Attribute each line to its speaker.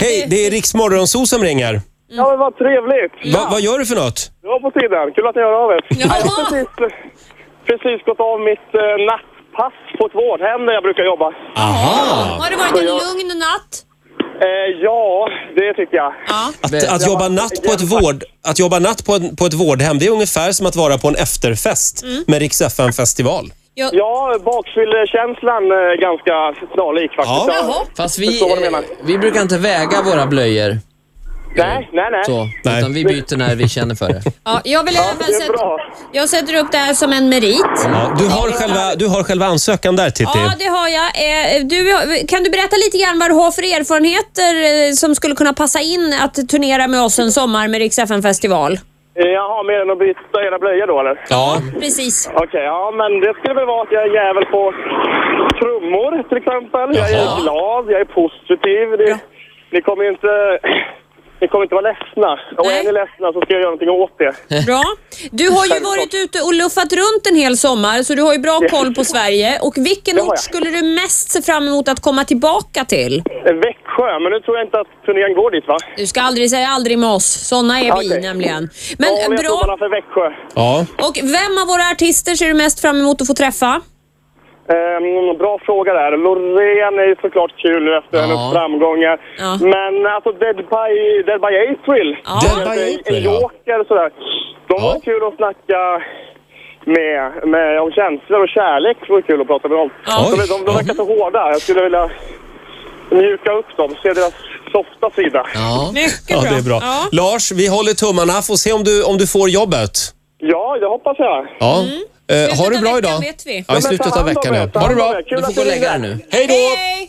Speaker 1: Hej, det är Riks Morgonzoo som ringer.
Speaker 2: Ja, men vad trevligt!
Speaker 3: Mm.
Speaker 1: Va, vad gör du för något?
Speaker 2: Det var på tiden. Kul att ni hör av er. Jag har precis, precis gått av mitt eh, nattpass på ett vårdhem där jag brukar jobba.
Speaker 1: Aha!
Speaker 3: Har det varit en lugn natt?
Speaker 2: Eh, ja, det tycker jag.
Speaker 3: Ja.
Speaker 1: Att,
Speaker 2: Alltså,
Speaker 1: att, jobba natt på ett vård, att jobba natt på, en, på ett vårdhem, det är ungefär som att vara på en efterfest med Rix FM-festival.
Speaker 3: Jag,
Speaker 2: Ja, bakfyllekänslan är ganska snarlik faktiskt.
Speaker 1: Ja.
Speaker 3: Jaha.
Speaker 4: Fast
Speaker 2: Jag
Speaker 4: vi,
Speaker 2: förstår vad du menar.
Speaker 4: eh, vi brukar inte väga våra blöjor
Speaker 2: Nej, nej, nej.
Speaker 4: så,
Speaker 1: Nej.
Speaker 4: utan vi byter när vi känner för det.
Speaker 3: ja, jag vill
Speaker 2: Ja, det
Speaker 3: även
Speaker 2: är
Speaker 3: sätta,
Speaker 2: bra.
Speaker 3: jag sätter upp det här som en merit.
Speaker 1: Ja, du, har själva, du har själva ansökan där, Titti.
Speaker 3: Ja, det har jag. Eh, Du, kan du berätta lite grann vad du har för erfarenheter eh, som skulle kunna passa in att turnera med oss en sommar med Rix festival
Speaker 2: Eh, Jaha, mer än att byta era blöjor då eller?
Speaker 1: Ja.
Speaker 3: Precis.
Speaker 2: Okej, ja men det skulle väl vara att jag är jävel på trummor till exempel. Jag
Speaker 1: Jaha.
Speaker 2: är glad, jag är positiv. Ni,
Speaker 3: Bra.
Speaker 2: ni kommer ju inte... Ni kommer inte vara ledsna. Och
Speaker 3: Nej.
Speaker 2: är ni ledsna så ska jag göra någonting åt det.
Speaker 3: Bra. Du har ju varit ute och luffat runt en hel sommar så du har ju bra koll på Sverige. Och vilken
Speaker 2: Det har
Speaker 3: ort
Speaker 2: jag.
Speaker 3: skulle du mest se fram emot att komma tillbaka till?
Speaker 2: Eh, Växjö, men nu tror jag inte att turnén går dit va?
Speaker 3: Du ska aldrig säga aldrig med oss. Såna är vi
Speaker 2: Okej.
Speaker 3: nämligen. Men
Speaker 2: ja, men jag tror bara
Speaker 3: bra.
Speaker 2: för Växjö.
Speaker 1: ja.
Speaker 3: Och vem av våra artister ser du mest fram emot att få träffa?
Speaker 2: Ehm, bra fråga där. Loreen är ju såklart kul nu efter
Speaker 4: Ja.
Speaker 2: hennes framgångar.
Speaker 3: Ja.
Speaker 2: Men alltså Dead by, Dead by April.
Speaker 3: Ja.
Speaker 1: Dead by
Speaker 2: En-
Speaker 1: April,
Speaker 2: En
Speaker 1: ja.
Speaker 2: joker och sådär. De
Speaker 1: Ja.
Speaker 2: var kul att snacka med, med om känslor och kärlek. Det var kul att prata med dem.
Speaker 3: Ja.
Speaker 2: De, de, de
Speaker 1: Oj.
Speaker 2: verkar så hårda. Jag skulle vilja mjuka upp dem, se deras softa sida. Ja,
Speaker 4: Ja.
Speaker 3: Mycket
Speaker 1: ja, det är bra.
Speaker 3: Ja.
Speaker 1: Lars, vi håller tummarna. Får se om du, om du får jobbet.
Speaker 2: det hoppas jag.
Speaker 1: Ja. Eh,
Speaker 3: Slutet
Speaker 1: ha det
Speaker 3: av
Speaker 1: bra
Speaker 3: veckan
Speaker 1: idag.
Speaker 3: vet vi.
Speaker 1: Ja, i
Speaker 2: Men ta
Speaker 1: slutet av
Speaker 2: hand om
Speaker 1: veckan.
Speaker 2: er,
Speaker 1: Ja.
Speaker 2: ta
Speaker 1: Ha det
Speaker 2: hand om
Speaker 1: bra.
Speaker 2: er. Kul
Speaker 4: Du får
Speaker 2: att
Speaker 4: gå och
Speaker 2: ni
Speaker 4: lägga dig
Speaker 2: ringde.
Speaker 4: nu.
Speaker 1: Hej då!
Speaker 3: Hej!